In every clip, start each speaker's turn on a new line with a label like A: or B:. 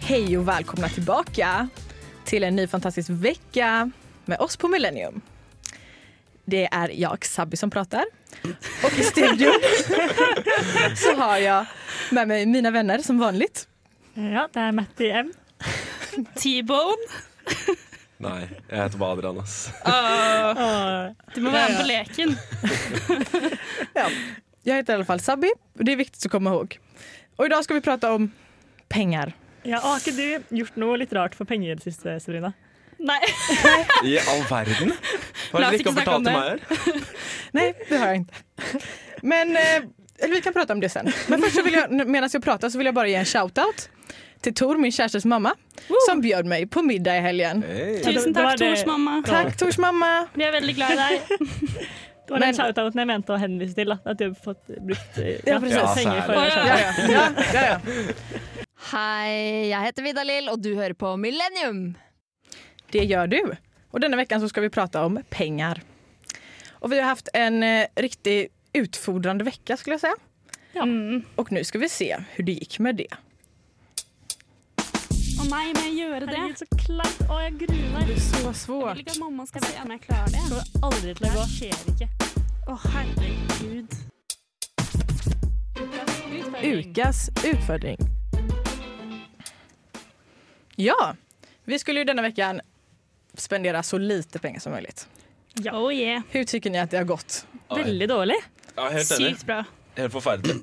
A: Hej och välkomna tillbaka till en ny fantastisk vecka med oss på Millennium. Det är jag, Sabbi, som pratar. Och i studion så har jeg med meg mine venner som vanligt.
B: Ja, det er Matti M.
C: T-bone.
D: Nei, jeg heter bare Adrian, ass.
C: Du må være med på leken.
A: Ja. Jag heter i alla fall Sabbi och det är viktigt att komma ihåg. Och idag ska vi prata om pengar.
B: Ja, og har ikke du gjort noe litt rart for penger i det siste, Sabrina?
C: Nei.
D: I all verden? Hva
C: La
D: er det dere ikke
C: oss ikke
D: har
C: snakke
D: fortalt
C: om
D: til meg her?
A: Nej, det har jag inte. Men eh, eller vi kan prata om det sen. Men först så vill jag, medan jag pratar så vill jag bara ge en shoutout till Tor, min kärstes mamma, som bjöd mig på middag i helgen.
D: Hey.
C: Tusen
B: Da- da
C: takk,
B: er det-
C: Tors mamma.
A: Tack Tors mamma!
C: Vi er veldig glad i deg.
B: Det var den shoutouten jeg mente å henvise til. Da. At du har fått brukt eh,
A: Ja, precis.
D: Ja,
B: penger for
C: særlig.
B: å
A: Ja, ja, ja, ja, ja.
E: Hei, jeg heter Vidalil, og du hører på Millennium.
A: Det gör du. Och denna veckan så ska vi prata om pengar. Och vi har haft en eh, riktig utfordrande vecka skulle jag säga.
C: Mm.
A: Och nu ska vi se hur det gick med det.
C: Å nei, må jeg gjøre det?
B: Herregud, så kleint. Å, jeg gruer meg.
A: Så
C: Jeg
A: svårt.
C: vil ikke at mamma skal se om jeg klarer
B: Det
C: det.
B: kommer aldri til å gå. Det skjer ikke.
C: Å, herregud.
A: Ukas utfordring. Ja, vi skulle ju denna veckan spendera så lite pengar som möjligt.
B: Ja.
C: Oh yeah.
A: Hur tycker ni att det har gått?
B: Veldig dårlig.
D: Ja, helt enig.
C: Sykt bra.
D: Helt forferdelig.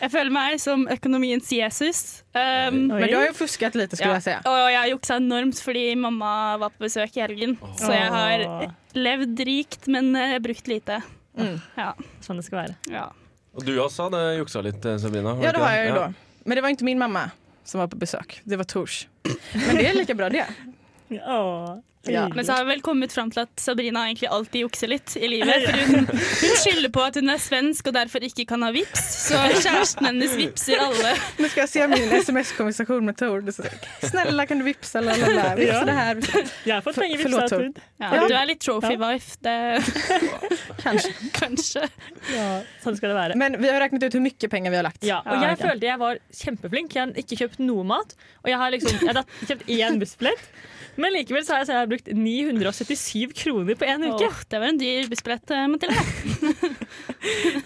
C: Jeg føler meg som økonomiens Jesus. Um,
A: Men du har ju fuskat lite skulle
C: ja.
A: jag säga.
C: Og jeg har juksa enormt fordi mamma var på besøk i helgen. Så jeg har
B: Åh.
C: levd rikt, men eh, brukt lite. Ja.
B: Sånn det skal være.
C: ja.
D: Og du også hadde juksa litt, eh, Sabrina.
A: Ja, det har jeg ju då. Men det var inte min mamma som var på besök. Det var Tors. Men det är lika bra det.
B: Åh.
A: Ja.
C: Men så har vi vel kommet fram til at Sabrina egentlig alltid jukser litt i livet. For hun, hun skylder på at hun er svensk og derfor ikke kan ha vips, så kjæresten hennes vipser alle.
A: Nu ska jag se min sms-konversation med Tor. Det är så här, Snälla kan du vipsa, la, la, la. vipsa
B: Ja.
A: det här. Vipsa.
B: Jeg har fått
A: For-
B: penger
A: forlåt,
B: vipsa
A: Tor.
B: ut.
C: Ja, du er litt trophy wife, det
A: Kanske.
C: kanskje.
B: Ja, sånn skal det være.
A: Men vi har räknat ut hur mycket pengar vi har lagt.
B: Ja, og
C: Ja,
B: jeg
C: ok.
B: følte jeg var kjempeflink. Jeg har ikke kjøpt noe mat. Og jeg har liksom, jeg har kjøpt én bussbillett. Men likevel så har jeg, så jeg har brukt 977 kroner på én uke.
C: Åh, det var en dyr bussbillett, eh, Mathilde.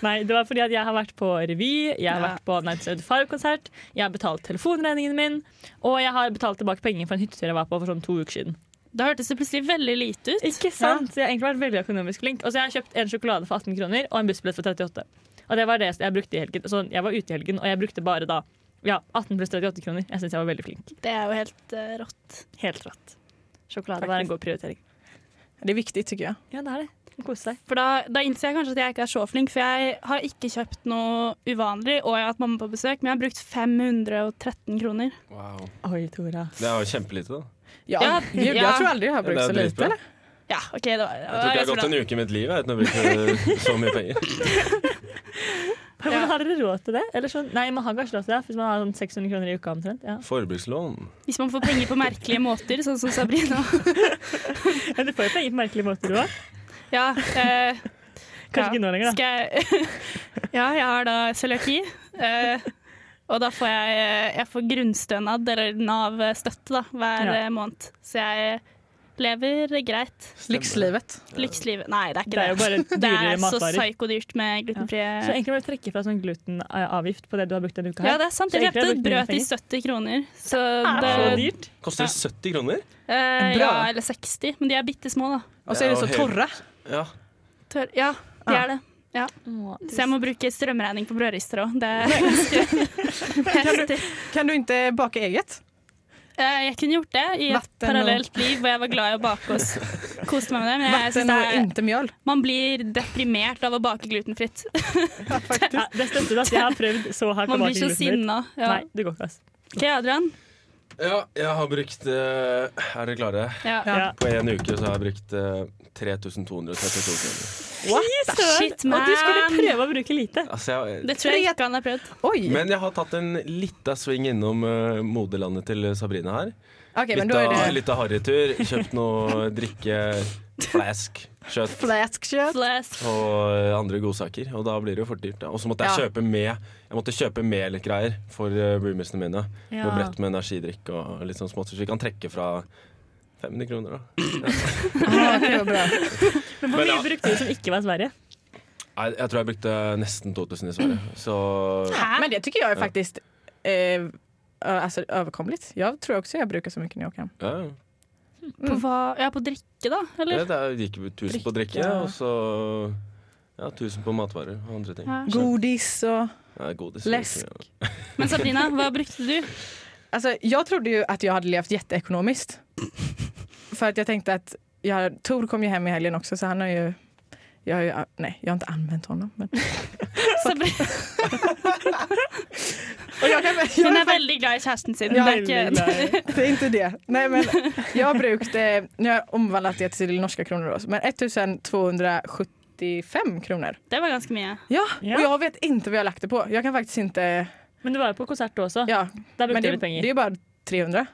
B: Nei, det var fordi at jeg har vært på revy, jeg har
C: Ja.
B: vært på Nights Out Fire-konsert, jeg har betalt telefonregningen min, og jeg har betalt tilbake penger for en hyttetur jeg var på for sånn to uker siden.
C: Da hørtes det plutselig veldig lite ut.
B: Ikke sant? Så jeg har egentlig vært veldig økonomisk flink. Og så har jeg kjøpt en sjokolade for 18 kroner og en bussbillett for 38. Og det var det jeg brukte i helgen. Så jeg var ute i helgen, og jeg brukte bare da ja, 18 pluss 38 kroner. Jeg syns jeg var veldig flink.
C: Det er jo helt eh, rått.
B: Helt rått. Sjokolade var en god prioritering.
A: Det er viktig tycker jag.
B: Ja, det er det. Kose seg.
C: For da, da innser jeg kanskje at jeg ikke er så flink, for jeg har ikke kjøpt noe uvanlig, og jeg har hatt mamma på besøk, men jeg har brukt 513 kroner.
D: Wow.
B: Oi, Tora.
D: Det er jo kjempelite, da.
A: Ja,
C: Ja,
A: Gud,
C: ja.
A: Jag tror aldrig jeg har
D: Det er
A: brukt så lite.
D: dritbra.
A: Eller?
C: Ja, OK, det var,
D: Jeg tror
C: det var
D: ikke jeg har
C: ganske
D: gått en
C: bra.
D: uke i mitt liv jeg, uten å bruke eh, så mye penger.
B: Hvordan har dere råd til det? Eller sånn, nei, man har kanskje råd til det hvis man har sånn 600 kroner i uka omtrent. Ja.
D: Forbrukslån.
C: Hvis man får penger på merkelige måter, sånn som Sabrina.
B: Men du får jo penger på merkelige måter du òg.
C: Ja, eh,
B: Kanskje ikke nå lenger, da.
C: Skal jeg ja, jeg har da cøliaki. Eh, og da får jeg, jeg får grunnstønad, eller Nav-støtte, da, hver
B: Ja.
C: eh, måned. Så jeg lever greit.
A: Lyxlivet.
C: Lykslivet Nei, det
B: Det
C: er ikke
B: er jo
C: det.
B: bare
C: Det
B: dyrere
C: er så
B: matvarer.
C: psykodyrt med
B: Så
C: glutenfrie
B: egentlig må du trekke fra sånn glutenavgift på Eh. det du har brukt denne uka
C: Ja,
B: her.
C: det er sant.
B: Så
C: Jeg
B: egentlig har jeg
C: kjøpte et
B: brukt mine
C: brød til 70 kroner. Så det
B: så
D: Ja.
B: dyrt.
D: Koster 70 kroner?
C: eh, Ja,
A: Bra.
C: eller 60, men de er bitte små, da.
A: Og så er de så
D: Det er jo helt-
A: torre.
D: Ja.
C: Tør. Ja, de er det. Ja. Så jeg må bruke strømregning på brødrister òg. Det er ganske heftig.
A: Kan du ikke bake eget?
C: Eh, Jeg kunne gjort det i et
A: Vatten og-
C: parallelt liv hvor jeg var glad i å bake og s- koste meg med det. Men jeg synes
A: Vatten
C: det
A: og
C: er,
A: ikke mjøl.
C: man blir deprimert av å bake glutenfritt.
B: Ja, det støtter du at jeg har prøvd så hardt
C: Man
B: å
C: blir
B: bake
C: så
B: glutenfritt.
C: sinna.
B: Nei,
C: Ja.
B: det går ikke, ass.
C: OK, Adrian.
D: ja, jeg har brukt eh, Er dere klare?
C: Ja.
B: Ja.
D: På én uke så har jeg brukt eh, 3232 kroner.
B: What the
C: Shit,
B: Og du skulle
C: man.
B: prøve å bruke lite.
D: Altså, jeg,
C: Det tror jeg ikke han har prøvd.
A: Oi!
D: men jeg har tatt en lita sving innom eh, moderlandet til Sabrina her.
A: Ok, men
D: Litt
A: da er
D: av,
A: det
D: litt av harrytur. Kjøpt noe drikke. flask, kjøtt
A: Fleskjøtt.
C: Flask.
D: og eh, andre godsaker. Og da blir det jo fort dyrt. da. Og så måtte jeg
A: Ja.
D: kjøpe med Jeg måtte kjøpe melgreier for eh, roomiesene mine.
B: Ja.
D: Noe brett med energidrikk og litt sånn smått. Så vi kan trekke fra 500 kroner, da.
A: Ah, ok, det var bra.
B: Men hvor
D: Men
B: mye
D: da-
B: brukte du som ikke var Sverige?
D: Nei, Jeg tror jeg brukte nesten 2000 i Sverige. Så
A: Men det tycker jag är faktiskt eh, alltså, överkomligt. Jag tror också jag brukar så mycket när jag kan.
D: ja,
C: På hva? Ja, på drikke, da?
D: det,
C: Eller?
D: det gikk 1000 på drikke,
A: Drikke.
D: og så ja, 1000 på matvarer og andre ting.
C: Ja.
A: Godis och...
D: Ja, godis.
A: Lesk.
C: Men Sabrina, hva brukte du?
A: Alltså, jag trodde ju att jag hade levt jätteekonomiskt. För att jag tänkte att jag, Tor kom ju hem i helgen också så han har ju... Jag har ju nej, jag har inte använt honom. Men,
C: Sabrina,
A: och jag kan, jag,
C: hun er veldig glad i kjæresten sin.
A: Ja,
C: det er ikke...
A: det är inte det. Nej, men jag brukade, nu har jag omvandlat det till norska kronor då, men 1275 kronor.
C: Det var ganske mye.
A: Ja,
B: Ja.
A: och jag vet inte vad jag lagt det på. Jeg kan faktisk ikke
B: Men du var jo på konsert da også.
A: Ja,
B: Der
A: men
B: brukte
A: det, det
B: Ah, du litt penger.
A: er jo bare 300.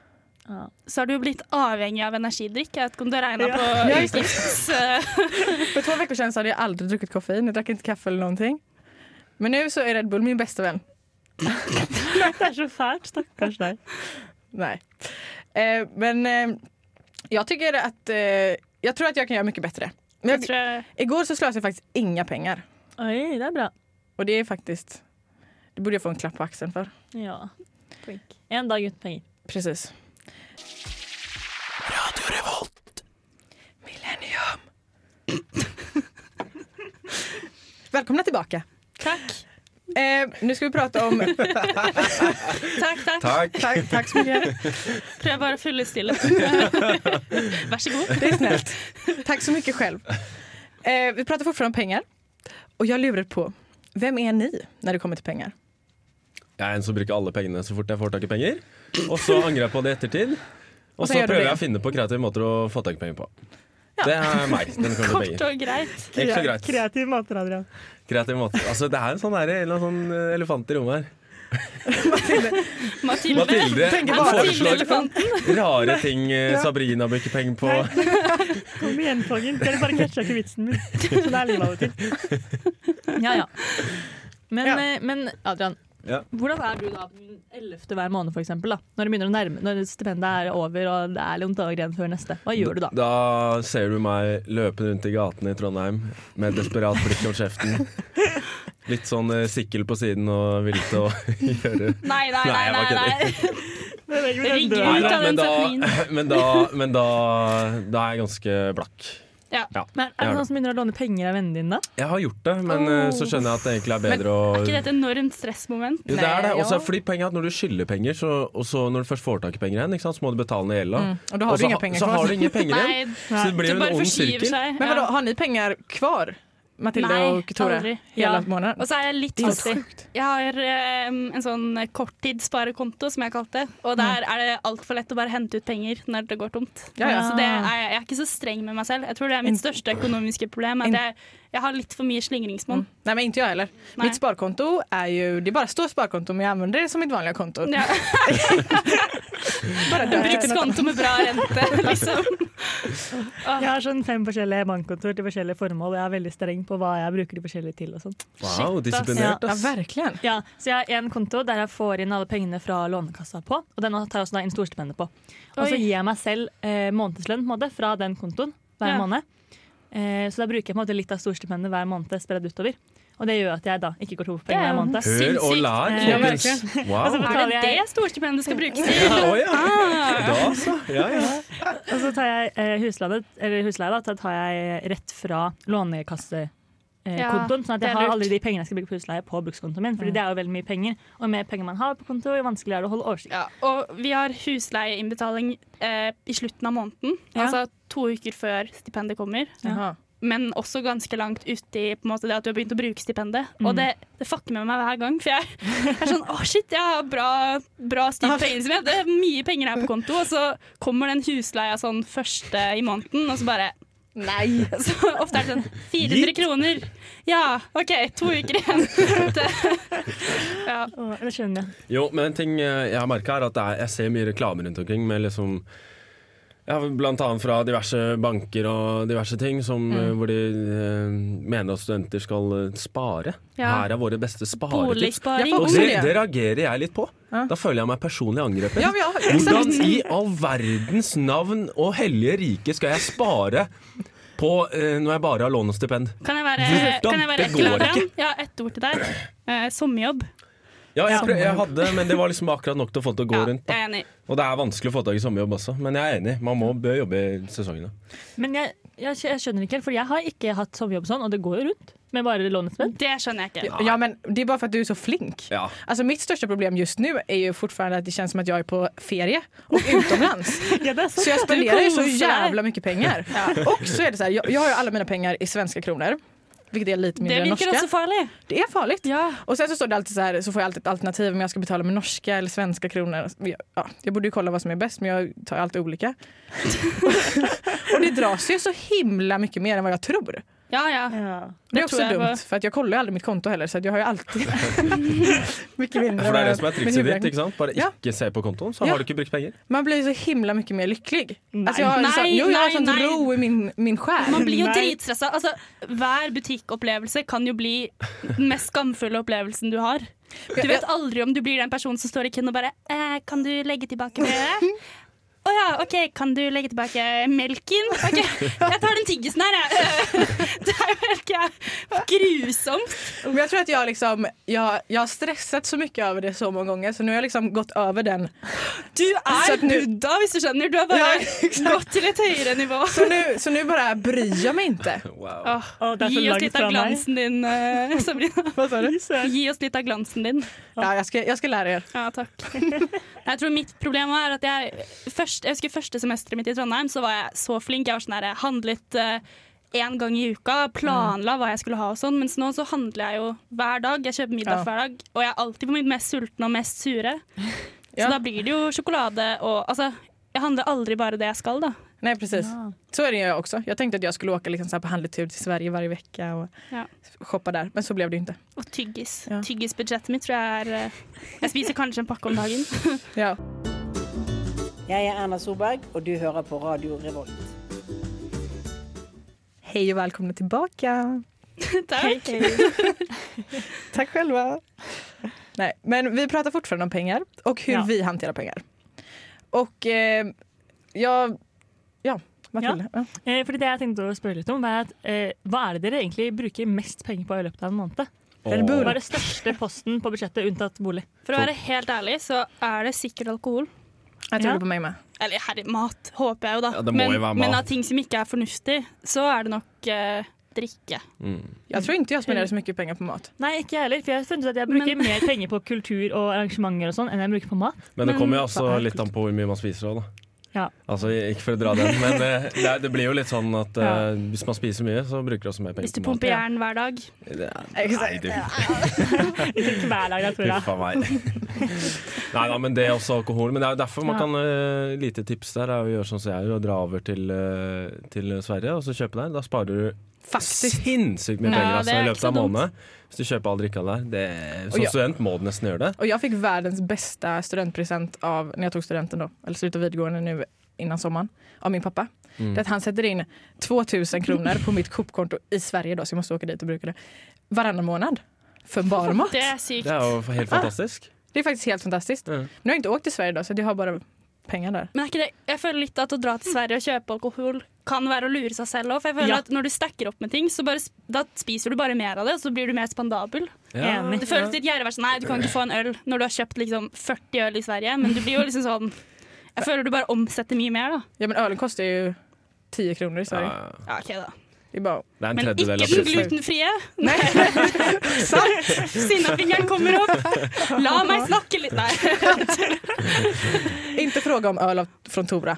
B: Ja.
C: Så har du jo blitt avhengig av energidrikk. Jeg vet ikke om du har regna
B: Ja.
C: på
A: Ja, just det.
C: utgifts... eh,
A: For to uker siden så hadde jeg aldri drukket koffein. Jeg drakk ikke kaffe eller noen ting. Men nå så er Red Bull min beste venn.
B: Det er så fælt, stakkars deg.
A: Nei. Eh, men eh, jag tycker att eh, jag tror att jag kan göra mycket bättre. Men jag,
C: Jeg tror jeg-
A: igår så slösade jag faktiskt inga pengar.
B: Oi, det er bra.
A: Och det är faktiskt det borde jag få en klapp på axeln för.
B: Ja. Flink. En dag uten penger.
A: Precis. Radio Revolt. Millennium. Välkomna tillbaka.
C: Takk.
A: Eh, nu ska vi prata om
C: Takk, takk.
D: Takk.
A: Tack, tack så mycket.
C: Prøv bare å fyllestille. Vær så god.
A: Det är snällt. Tack så mycket själv. Eh, vi pratar fortfarande om pengar. Och jag lurar på, vem är ni när det kommer till pengar?
D: Jeg er en som bruker alle pengene så fort jeg får tak i penger. Og så angrer jeg på det i ettertid. Og så
A: gjør du
D: prøver
A: det.
D: jeg å finne på kreative måter å få tak i penger på. Det er meg. Den kommer til
C: Kort
D: penger.
C: og greit.
D: Ikke så greit.
B: Kreativ måter, Adrian.
D: Kreativ måte. Altså, det er en sånn, her, en eller annen sånn eh, elefant i rommet her.
C: Mathilde.
D: Mathilde
A: Tenker
D: hun
A: bare-
D: foreslår
C: Mathilde-elefanten.
D: rare ting eh, Sabrina bruker penger på.
B: Kom igjen, Fangen. Dere bare catcha ikke vitsen min. Så det er lov til. Ja, ja.
A: Ja.
B: Men, eh, men Adrian,
D: Ja.
B: hvordan er du da på den ellevte hver måned, for eksempel, da? Når, det begynner å nærme, når stipendet er over og det er noen dager igjen før neste. Hva gjør du da?
D: Da ser du meg løpe rundt i gatene i Trondheim med et desperat blikk om kjeften. Litt sånn eh, sikkel på siden og villig til å gjøre
C: Nei, nei,
D: Nei,
C: nei.
D: jeg
C: nei,
D: var
C: nei. Rigg
D: Nei,
C: ut
D: da,
C: av
D: men
C: den
D: da,
C: setningen.
D: men, da, men da, da er jeg ganske blakk.
C: Ja.
B: Men er det noen som begynner å låne penger av vennene dine, da?
D: Jeg har gjort det, men eh, så skjønner jeg at det egentlig er bedre å
C: Er ikke det et enormt stressmoment?
D: jo, det er det.
A: Nei,
D: Også
A: ja.
D: fordi poenget er at Når du skylder penger, så, og så når du først får tak i penger igjen, ikke sant, så må du betale ned gjelda.
A: Mm, og da har
D: Og
A: du
D: så
A: ingen
D: ha-
A: penger
D: så
A: kvar.
D: har du ingen penger igjen.
C: Nei,
D: Så det blir jo
C: det
D: en
C: bare
D: ond
C: forskyver
D: sirkel.
C: seg.
A: Men vadå, har ni pengar kvar? Matilda
C: Nei,
A: och Tore?
C: aldri.
A: Hela
C: Ja.
A: månaden?
C: Og så er jeg litt
A: Det er
C: fattig.
A: helt sjukt.
C: Jeg har eh, en sånn korttidssparekonto, som jeg kalte det. Og der er det altfor lett å bare hente ut penger når det går tomt.
A: Mm. Ja, ja.
C: Så det er, jeg er ikke så streng med meg selv. Jeg tror det er mitt største økonomiske problem. At jeg, jeg har litt for mye slingringsmonn.
A: Mm. Nej men inte jag heller.
C: Nej.
A: Mitt sparkonto är ju, det bara står sparkonto men jag använder det som mitt vanliga konto.
C: Ja.
A: Bara där.
C: Brukskonto med bra rente, liksom.
B: Jeg har sånn fem forskjellige bankkontor til forskjellige formål, og jeg er veldig streng på hva jeg bruker de forskjellige til og sånn.
D: Wow,
C: Shit, ass.
D: disiplinert.
A: Ja
D: ass.
A: verkligen.
B: Ja, så jeg har en konto der jeg får inn alle pengene fra lånekassa på, og den tar jeg også da inn storstipendet på. Og så
C: Oi.
B: gir jeg meg selv eh, månedslønn på en måte, fra den kontoen hver
C: Ja.
B: måned. Eh, så da bruker jeg på en måte litt av storstipendet hver måned spredd utover. Og det gjør at jeg da ikke går tom for penger hver måned.
D: Hør og
C: Sinnssykt.
D: lær,
B: Ja,
D: folkens.
B: Altså,
D: Wow.
C: Er
B: betaler
C: det
B: jeg-
C: det storstipendet skal brukes til?
D: Ja, å, ja. Da, så. Ja, ja.
B: Og så tar jeg eh, husleie, eller husleie da, så tar jeg rett fra lånekassekontoen. Eh,
C: Ja,
B: kontoen, sånn at
C: det
B: jeg
C: er
B: har
C: lurt.
B: aldri de pengene jeg skal bruke på husleie på brukskontoen min. Fordi det er jo veldig mye penger. Og jo mer penger man har på konto, jo vanskeligere er det å holde oversikt.
C: Ja, og vi har husleieinnbetaling eh, i slutten av måneden,
B: Ja.
C: altså to uker før stipendet kommer.
A: Jaha.
C: Men også ganske langt uti på en måte, det at du har begynt å bruke stipendet. Og det, det fucker med meg hver gang, for jeg, jeg er sånn Å, shit, jeg har bra, bra styr på pengene sine. Det er mye penger her på konto, og så kommer den husleia sånn første i måneden, og så bare
A: Nej.
C: så ofte er det sånn 400 kroner. Ja, OK, to uker igjen. Det, ja.
B: Å, det skjønner jeg.
D: Jo, men en ting eh, jeg har merka, er at det er, jeg ser mye reklame rundt omkring med liksom ja, Ja, blant annet fra diverse banker og diverse ting, som, eh, hvor de eh, mener at studenter skal eh, spare.
C: Ja.
D: Her er våre beste sparetips.
A: Ja,
C: Boligsparing.
A: for-
D: Og
A: Også
D: det,
A: det.
D: det reagerer jeg litt på.
A: Ja.
D: Da føler jeg meg personlig angrepet.
A: Ja, men ja,
D: Hvordan
A: exakt.
D: i all verdens navn og hellige rike skal jeg spare på eh, når jeg bare har lån og stipend?
C: Kan jeg være,
D: Hvordan?
C: kan jeg være
D: Det
C: ekkel,
D: går
C: Adrian?
D: ikke.
C: Jeg har ett ord til deg. Eh, sommerjobb.
D: Ja, jeg, prøv, jeg hadde, men det var liksom akkurat nok til å få det til å gå
C: Ja,
D: rundt.
C: jeg
D: Da.
C: er enig.
D: Og det er vanskelig å få tak i sommerjobb også, men jeg er enig. Man må bør jobbe i sesongene.
B: Men jeg, jeg, skj- jeg skjønner ikke helt, for jeg har ikke hatt sommerjobb sånn, og det går jo rundt med bare lånespenn.
C: Det skjønner jeg ikke.
A: Ja, men det är bara för att du är så flink.
D: Ja.
A: Alltså mitt största problem just nu är ju fortfarande att det känns som att jag är på ferie och utomlands. Så jag spenderar ju så
C: kosar dig.
A: jävla mycket pengar. Och så är det så här, jag, jag har ju alla mina pengar i svenska kronor. Vilket är lite mindre
C: Det
A: än norska.
C: virker også farlig.
A: Det är farligt.
C: Ja.
A: Och sen så står det alltid så här, så får jag alltid ett alternativ om jag ska betala med norska eller svenska kronor. Jag- Ja, jag borde ju kolla vad som är bäst men jag tar alltid olika. och det dras ju så himla mycket mer än vad jag tror. Det,
C: Ja, ja.
A: är
C: Det
A: också
C: tror jag
A: dumt
C: var-
A: för att jag kollar ju aldrig mitt konto heller så att jag har ju alltid mycket mindre.
D: For det er det
A: med-
D: som er
A: med
D: trikset ditt.
A: huvudräkning.
D: ikke sant? Bare
A: Ja.
D: ikke se på kontoen, så
A: Ja.
D: har du ikke brukt penger.
A: Man blir så himla mycket mer lycklig. Alltså jag har en
C: Nej,
A: sån, jo, jag har en sån
C: nej, nej.
A: ro i min, min själ.
C: Man blir jo
B: Nei.
C: dritstressa. Altså, hver butikkopplevelse kan jo bli den mest skamfulle opplevelsen du har. Du vet aldri om du blir den personen som står i køen og bare eh, 'Kan du legge tilbake brødet?' 'Å ja, OK, kan du legge tilbake melken?' 'OK, jeg tar den tyggisen her, jeg.' Det er jo helt jæ- grusomt.
A: Men jag tror att jag, liksom, jag, jag har stressat så mycket över det så många gånger så nu har jeg liksom gått över den.
C: Du
A: Så
C: er
A: at nu-
C: Buddha, hvis du skjønner. Du har bare
A: Ja, exakt.
C: gått til et høyere nivå.
A: Så nu, så nu bara bryr jag mig inte.
D: Wow.
C: Åh,
B: Å, det er så
C: gi oss
B: langt
C: litt
B: fra
C: av
B: meg.
C: glansen din, eh, Sabrina.
A: Vad sa du?
C: Gi oss litt av glansen din.
A: Ja, jag, ska, jag ska lära er.
C: Ja, takk. Jeg tror mitt problem er at jeg, først, jeg husker første semesteret mitt i Trondheim, så var jeg så flink. Jeg var sånn der, jeg handlet én gang i uka, planla hva jeg skulle ha og sånn. Mens nå så handler jeg jo hver dag. Jeg kjøper middag
A: Ja.
C: hver dag. Og jeg er alltid på mitt mest sultne og mest sure.
A: Ja.
C: Så da blir det jo sjokolade og Altså, jeg handler aldri bare det jeg skal, da.
A: Nej precis. Så är det jag också. Jag tänkte att jag skulle åka liksom så här på handletur till Sverige varje vecka och
C: Ja.
A: shoppa där. Men så blev det ju inte.
C: Og tyggis.
A: Ja.
C: Tyggisbudsjettet mitt tror jeg er eh, Jeg spiser kanskje en pakke om dagen.
A: Ja.
F: Jeg er Erna Solberg, og du hører på Radio Revolt.
A: Hej och välkomna tillbaka.
C: Takk.
A: Tack själva. Nej, men vi pratar fortfarande om pengar och hur
B: Ja.
A: vi hanterar pengar. Och eh, jag... Ja, Matilda. Ja.
B: Eh, fordi det jeg tenkte å spørre litt om, er at eh, hva er det dere egentlig bruker mest penger på i løpet av en måned?
D: Åh.
B: Hva er det største posten på budsjettet unntatt bolig?
C: For å være helt ærlig, så er det sikkert alkohol.
A: Jag tror
B: Ja.
A: på meg med.
C: Eller herre, mat håper jeg jo, da.
D: Ja, det må
C: men,
D: jo være mat.
C: men av ting som ikke er fornuftig, så er det nok eh, drikke.
A: Jag tror inte jag spenderar så mycket pengar på mat.
B: Nei, ikke jeg heller, for jeg har funnet ut at jeg bruker
C: Men-
B: mer penger på kultur og arrangementer og sånn enn jeg bruker på mat.
D: Men det
B: Men
D: kommer jo
B: hva
D: også
B: er
D: litt an på hvor mye man spiser òg, da.
B: Ja.
D: Altså, ikke for å dra den, men eh, det, er- det blir jo litt sånn at eh, hvis man spiser mye, så bruker du også mer penger.
C: Hvis du
D: på mat.
C: pumper jern hver dag.
D: Det er- Nei,
A: Exakt.
D: du,
B: Ikke hver dag, jeg tror jeg.
D: huff a meg. Nei da, men det er også alkohol. Men det er jo derfor
B: Ja.
D: man kan eh, Lite tips der er å gjøre sånn som jeg gjør, og dra over til, eh, til Sverige og så kjøpe der. Da sparer du
A: Faktiskt.
D: sinnssykt mye
C: Ja,
D: penger
C: det
D: altså,
C: er
D: i
C: ikke
D: løpet
C: så
D: av
C: dumt.
D: måneden. Hvis du kjøper all drikka der. Det,
A: Og
D: som
A: ja.
D: student må du nesten gjøre det.
A: Och jag fick världens bästa studentpresent av, när jag tog studenten då, eller slutade videregående nu innan sommaren, av min pappa. Det är att han sätter in 2000 kronor på mitt Coop-konto i Sverige då, så jag måste åka dit och bruka det, varannan månad. För barmat.
C: Det er sykt.
D: Det er jo helt fantastisk.
A: Det är faktiskt helt fantastiskt.
D: Ja.
A: Nu har jag inte åkt till Sverige då, så jag har bara pengar där.
C: Men er ikke det, jeg føler litt at å dra til Sverige og kjøpe alkohol kan være å lure seg selv òg. For jeg føler
B: Ja.
C: at når du stacker opp med ting, så bare, sp- da spiser du bare mer av det, og så blir du mer spandabel.
D: Ja.
B: Enig.
C: Det føles litt gjerrig å være sånn nei, du kan ikke få en øl når du har kjøpt liksom 40 øl i Sverige, men du blir jo liksom sånn Jeg føler du bare omsetter mye mer, da.
A: Ja men ölen kostar ju 10 kronor i Sverige.
D: Ja,
C: Ja, ok da.
A: Det är bara...
D: det er en
C: Men ikke
D: tredjedel av
C: den
D: prisen.
C: glutenfrie.
A: Nej! Sant!
C: Sinnafingeren kommer opp. La meg snakke litt. Nei.
A: Inte fråga om öl av- från Tora.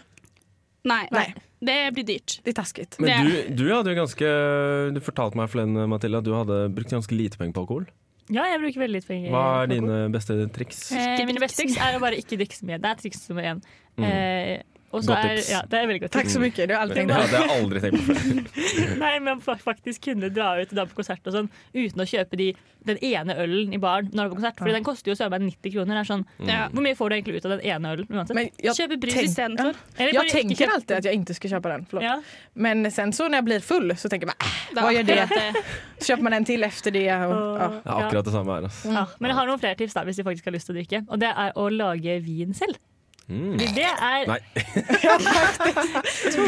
C: Nei, nei.
A: Nej,
C: Det blir dyrt.
A: det är taskigt.
D: Men du, du hadde jo ganske Du fortalte meg forleden, Mathilde, at du hadde brukt ganske lite penger på alkohol.
B: Ja, jeg bruker veldig litt penger.
D: Hva
B: på
D: er dine beste triks?
B: Eh,
C: Ikke
B: mine
C: drikke
B: beste
C: så
B: triks er å bare ikke drikke så mye. Det er triks nummer én. Eh, Og så
D: Mm. Godt
B: er,
D: tips.
B: ja, det er veldig godt
A: Takk så
D: Mm.
B: tips.
A: mycket, du har allting
D: Det
A: bra.
D: hadde jeg aldri tenkt på før.
B: Nei, men fa- faktisk kunne dra ut da på konsert og sånn uten å kjøpe de, den ene ølen i baren når du er på konsert. Fordi den koster jo søren meg 90 kroner. Det Er sånn,
D: Mm.
C: Ja.
B: Hvor mye får du egentlig ut av den ene ølen uansett?
A: Men jag,
C: Kjøpe brus
A: Tenk-
C: istedenfor.
B: Eller
A: jag
B: bare ikke
A: tänker
B: kjøpe-
A: alltid att jag inte ska köpa den. Förlåt.
B: ja.
A: Men sen så när jag blir full så tänker jag bara,
C: Da eh,
A: Hva gjør det?
C: akkurat det?
A: så köper man en till efter det. Och, ja.
D: Ja, akkurat det samme her. Altså.
B: Ja, Ah, men jeg har noen flere tips da, hvis de faktisk har lyst til å drikke. Og det er å lage vin selv.
D: Mm.
B: Det er
D: Nei.
B: Tore.
A: Ska jag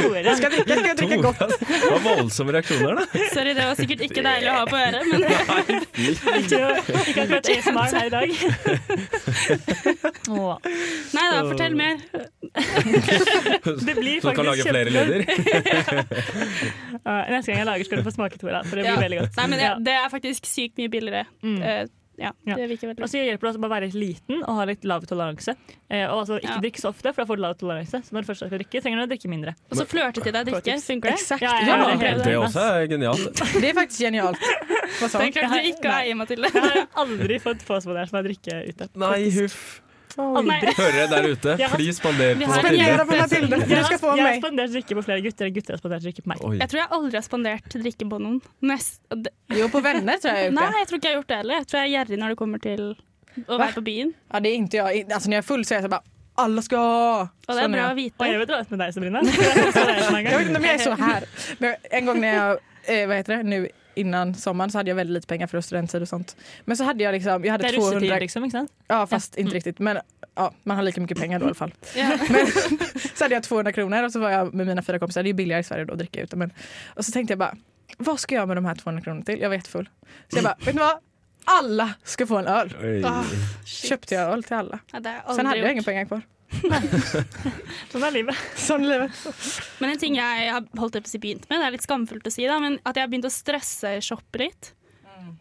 A: dricka, ska jag dricka
D: Tora,
A: gott.
D: det var voldsomme reaksjoner, da.
C: Sorry, det var sikkert ikke deilig å ha på øret, men
B: Ikke ikke akkurat ASMR her i dag. Åh,
C: nei da, fortell mer.
B: det blir
D: Så du kan lage
B: faktisk
D: flere
B: kjempegodt.
D: lyder.
B: Ja, Neste gang jeg lager, skal du få smake, Tora. For det blir
C: Ja.
B: veldig godt.
C: Nei, men det,
B: Ja.
C: det er faktisk sykt mye billigere.
B: Mm.
C: Eh, ja,
B: Ja.
C: det virker
B: Og
C: veldig
B: så hjelper det også bare å være litt liten og ha litt lav toleranse. Eh, og altså ikke
C: Ja.
B: drikke så ofte, for da får du lav toleranse. Så når du først skal drikke, trenger du å drikke mindre.
C: Og så flørte til deg drikke. Funker det?
A: Exakt,
B: Ja, ja,
A: ja.
B: ja, ja.
D: Det også er genialt.
A: Det er faktisk genialt. Vad sa hon?
C: Den klarte du ikke å eie, Mathilde.
B: Jeg har aldri fått få som der som har drikke ute.
D: Nei, huff.
C: Nei,
D: Hører dere der ute?
B: Jeg har-
D: Fly spander
C: Vi
D: på
C: har-
A: Spendera
D: Mathilde.
A: på Matilda,
B: Jeg
A: du
B: har,
A: ska få av
B: jeg har
A: mig.
B: spandert drikke på flere gutter, og gutter har spandert drikke på meg.
D: Oi.
C: jeg tror jeg aldri har spandert drikke på noen. Nest, det,
A: Jo, på vänner tror jag jag
C: nei,
A: har gjort det.
C: jeg tror ikke jeg har gjort det heller. Jeg tror jeg er gjerrig når det kommer til å
A: Hva?
C: være på byen.
A: Ja, det är inte jag. Alltså när jag är full så är jag så bara, alla ska ha.
C: Og det er
A: Sån
C: bra å
A: jag.
B: Og
C: vite.
B: jeg vil dra ut med deg, Sabrina. Jeg
A: Jag vet inte om jag är så här. Men en gång när jag, eh, vad heter det, nu innan sommaren så hade jag väldigt lite pengar för studenttid och sånt. Men så hade jag liksom, jag hade
B: Det er russetid,
A: 200,
B: liksom. ikke sant?
A: ja fast
C: Mm.
A: inte riktigt. Men ja, man har lika mycket pengar då i alla fall.
C: Ja.
A: Men, så hade jag 200 kronor och så var jag med mina fyra kompisar. Det är ju billigare i Sverige då att dricka ute. Men, och så tänkte jag bara, vad ska jag göra med de här 200 kronorna till? Jag var jättefull. Så jag bara, vet ni vad? Alla ska få en öl.
D: Oi.
C: Ah, shit.
A: Köpte jag öl till alla.
C: Ja, det har jeg
A: Sen
C: aldri
A: hade jag
C: gjort.
A: inga pengar kvar.
B: Sånn er livet.
A: Sån är livet.
C: Men en ting jeg har holdt på å si begynt med, det er litt skamfullt å si, da, men at jeg har begynt å stresse shoppe litt.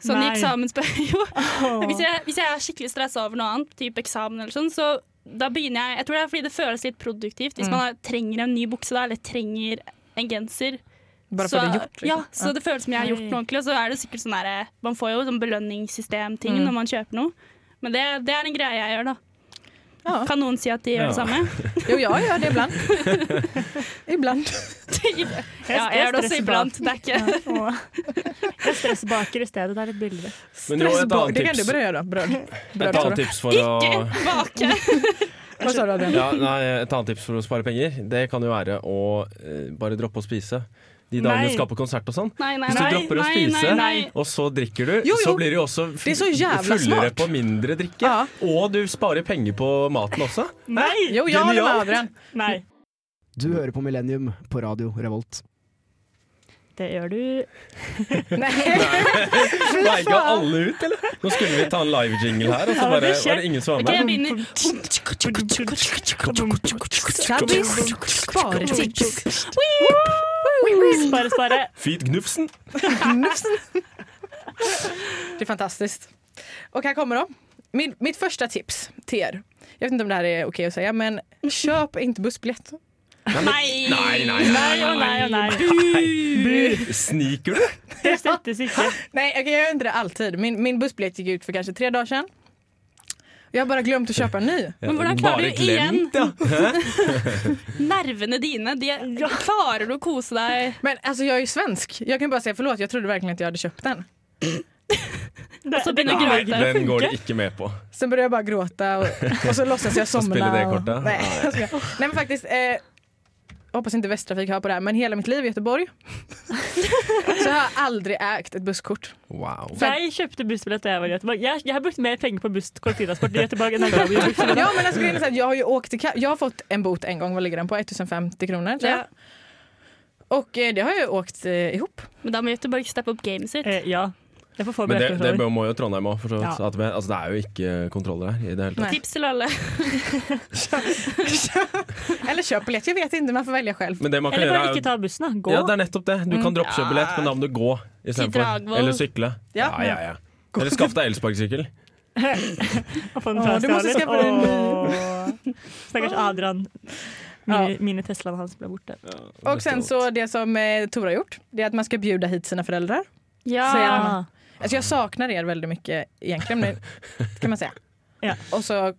C: Sånn i
B: Nei.
C: eksamensperioden. Hvis, jeg- hvis jeg er skikkelig stressa over noe annet, type eksamen eller sånn, så da begynner jeg Jeg tror det er fordi det føles litt produktivt. Hvis
A: Mm.
C: man har, trenger en ny bukse da, eller trenger en genser.
A: Bara
C: så,
A: för det gjort. liksom.
C: Ja, så det føles som jeg har gjort
B: Nei.
C: noe ordentlig. Og så er det sikkert sånn der, Man får jo sånn belønningssystem-ting
A: Mm.
C: når man kjøper noe. Men det, det er en greie jeg gjør, da.
A: Ja.
C: Kan noen si at de gjør det
D: Ja.
C: samme?
A: Jo, jag gör det ibland. ibland.
C: ja, jeg gjør det også
B: stressbar.
C: iblant. Det er ikke
B: Åh. Jeg stressbaker i stedet. Det er litt billigere.
D: Men jo, et
A: Stressbak-
D: annet
A: Det kan du
D: tips.
A: börja göra. Bröd. Bröd
D: Et
A: tar
D: annet
A: du.
D: tips for å
C: Ikke bake.
A: Vad sa du Adrian?
D: ja, nei, Et annet tips for å spare penger, det kan jo være å eh, bare droppe å spise. De dagene
B: Nei.
D: du skal på konsert og sånn.
C: Nei, nei,
D: Hvis du
C: nei,
D: dropper å
C: nei,
D: spise,
C: nei, nei.
D: Og så drikker du,
A: Jo, jo.
D: så blir du jo også f-
A: Det er så jævla
D: fullere
A: smart.
D: på mindre drikke.
A: Ja.
D: Og du sparer penger på maten også.
B: Nei!
A: Jo, jag håller med
D: Genialt.
A: Adrian.
B: Nei.
G: Du hører på Millennium på Radio Revolt.
B: Det gjør du.
A: Nej.
D: Veiga alle ut, eller? Nå skulle vi ta en live-jingle her, og så
B: Ja,
D: bare
B: det skjer.
D: var det ingen som var
C: Ok, jeg
D: med.
C: begynner.
A: Sabbis spartips.
B: Spare, spare.
D: Fyt Gnufsen.
A: Det är fantastiskt. Och här kommer de. Min, mitt första tips till er. Jag vet inte om det här är okej att säga men köp inte bussbiljett.
C: Nei!
D: Nei, nei,
B: Nei og nei og nei.
D: Sniker du?
B: Det støttes ikke.
A: Nej okej, jag gör inte det alltid. Min, min bussbiljett gick ut för kanske tre dager sedan. Jag har bara glömt att köpa en ny.
C: Men hvordan
D: Bare
C: klarer du
D: glemt, ja.
C: Nervene dine, de klarer du å kose deg
A: Men alltså jag är ju svensk. Jag kan bara säga förlåt jeg trodde verkligen att jag hade köpt den.
B: Det,
C: så begynner
B: det-
C: å gråte.
D: Den går de ikke med på.
A: Sen började jag bara gråta och, och så låtsas jag somna.
D: spiller det
A: och-
D: kortet?
A: Nej, jag skojar. Nej men faktiskt, eh, jag hoppas inte Västtrafik hör på det här men hela mitt liv i Göteborg så har jag aldrig ägt ett busskort.
D: Wow.
B: Jeg kjøpte bussbillett da jeg var i Göteborg. Jeg, jeg har brukt mer penger på buss kollektivtransport i Göteborg enn jeg har brukt på buss.
A: Ja men alltså, grejen är så här, jag har ju åkt till, jag har fått en bot en gång, vad ligger den på? 1050 kronor tror jag.
C: Ja.
A: Och eh, det har jag ju åkt eh, ihop.
C: Men da må Göteborg steppe opp gamet sitt.
B: Eh, ja. Jeg får få
D: Men det, det
B: billettkontroller.
D: bør- må jo Trondheim òg, for så vidt.
B: Ja.
D: At vi- Altså, det er jo ikke kontroller her i det hele tatt.
A: Nei.
C: Tips til alle.
A: Eller köpt biljett, jag vet inte, man får välja själv.
D: Men det man kan
B: Eller bare
D: gjøre, er
B: ikke ta bussen, da. Gå.
D: Ja, det er nettopp det. Du kan droppe kjøpebillett, men da må du gå istedenfor.
C: Dragvoll.
D: Eller sykle.
A: Ja.
D: Ja, ja, ja. Eller skaff deg elsparkesykkel.
B: Og få den
A: Åh,
B: fra
A: du må også
B: stjålet.
A: skaffe deg en ny.
B: Åh. Stakkars Adrian. Mine, mine Teslaene hans ble borte.
A: Och sen så det som eh, Tora har gjort, det är att man ska bjuda hit sina föräldrar.
C: Ja.
A: Ah. Alltså jag saknar er väldigt mycket egentligen nu, kan man säga.
B: Ja.
A: Och så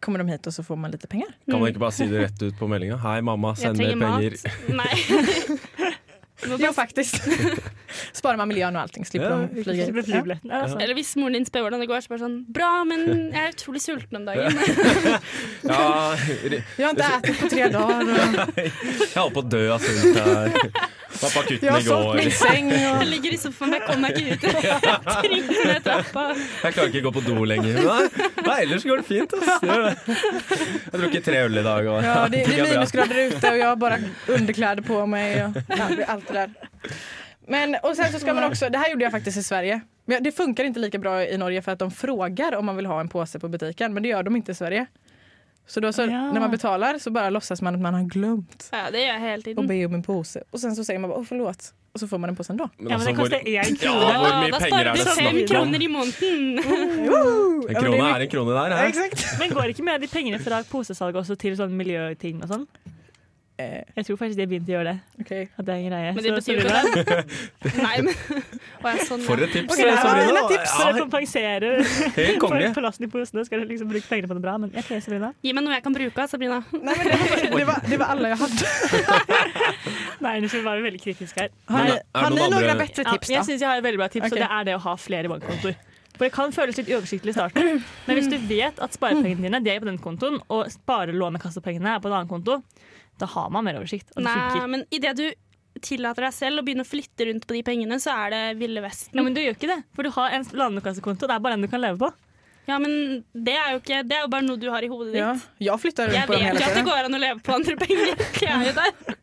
A: kommer de hit og så får man lite pengar.
D: Kan man ikke bare si det rett ut på meldinga? Hei, mamma,
C: Jeg
D: send mer
C: trenger
D: penger.
C: mat. Nei.
A: Jo, faktiskt. Sparar man miljön och allting, slipper
D: Ja,
A: de flyga
B: Ikke
A: hit.
B: bli flybillett. Nei, altså.
C: Eller hvis moren din spør hvordan det går, så bare sånn Bra, men jeg er utrolig sulten om dagen.
D: Ja,
A: Ja.
D: ri-
A: Jag har inte ätit på tre dagar. och
D: jeg holdt på å dø av sult her. Var på
A: Jag
D: akutten
A: har
D: i
A: sålt min
D: går.
A: säng. Och...
C: Jeg ligger i sofaen, jeg kommer meg ikke ut. Trykker ned trappa.
D: Jeg klarer ikke gå på do lenger. Nei, nei ellers går det fint. Ass. Det gjør det. Jeg har drukket tre øl i dag. Og,
A: Ja, det, det
D: er
A: är
D: bra.
A: minusgrader ute och jag har bara underkläder på mig och ja, det är allt det där. Men, och sen så ska man också, det här gjorde jag faktiskt i Sverige. Men jag- det funkar inte lika bra i Norge för att de frågar om man vill ha en påse på butiken men det gör de inte i Sverige. Så då så,
B: Ja.
A: när man betalar så bara låtsas man att man har glömt
C: Ja, det gjør jeg hele
A: att
C: tiden.
A: be om en påse og sen så säger man bara åh förlåt och så får man en påse ändå.
D: Men
B: Ja, men
D: altså,
B: det koster
D: hvor,
B: én
D: ja,
B: krone.
D: hvor
C: da
D: mye penger
C: sparer
D: er
C: vi
D: det
C: fem
D: snakk om?
C: kroner i måneden.
D: En krone er en krone der. Her.
A: Exakt.
B: Men går ikke med de pengene fra posesalget også til sånn miljøting og sånn?
A: Eh,
B: Jeg tror faktisk de har begynt å gjøre det.
A: Okej.
B: At det er en greie.
C: Men det
B: Så
C: betyr jo
B: Sabrina-
C: ikke det. Nei, men Å, ja, sånn,
D: For
C: ja.
D: et tips. Altså,
A: Ok, det her var
D: Sabrina.
A: mine tips.
B: Så det kompenserer
D: Ja, helt konge.
B: for for lasten i posene. Skal du liksom bruke pengene på noe bra? Men ok, Sabrina.
C: Gi meg noe jeg kan bruke, Sabrina.
A: Nej, men det, det, var, det var alla jag hade.
B: Nei, nå skal vi være veldig kritisk her.
A: Har
D: Men
A: ni,
D: er det
A: har ni
D: någon
A: några
D: andra-
A: bättre
B: Ja,
A: tips
B: jeg
A: då?
B: syns jeg har et veldig bra tips,
A: Ok.
B: og det er det å ha flere bankkontoer. For det kan føles litt uoversiktlig i starten, men hvis du vet at sparepengene dine de er på den kontoen, og sparelånekassepengene er på en annen konto, da har man mer oversikt. Og det
C: Nei,
B: funker.
C: men idet du tillater deg selv å begynne å flytte rundt på de pengene, så er det ville
B: Ja,
C: vesten.
B: men du gjør ikke det, for du har en landekassekonto. Det er bare den du kan leve på.
C: Ja, men det er jo ikke Det er jo bare noe du har i hodet ditt.
A: Ja, jag flyttar runt
C: Jeg
A: på dem
C: vet
A: hela
C: jo at det
A: tiden.
C: går an å leve på andre penger. Jeg er jo der.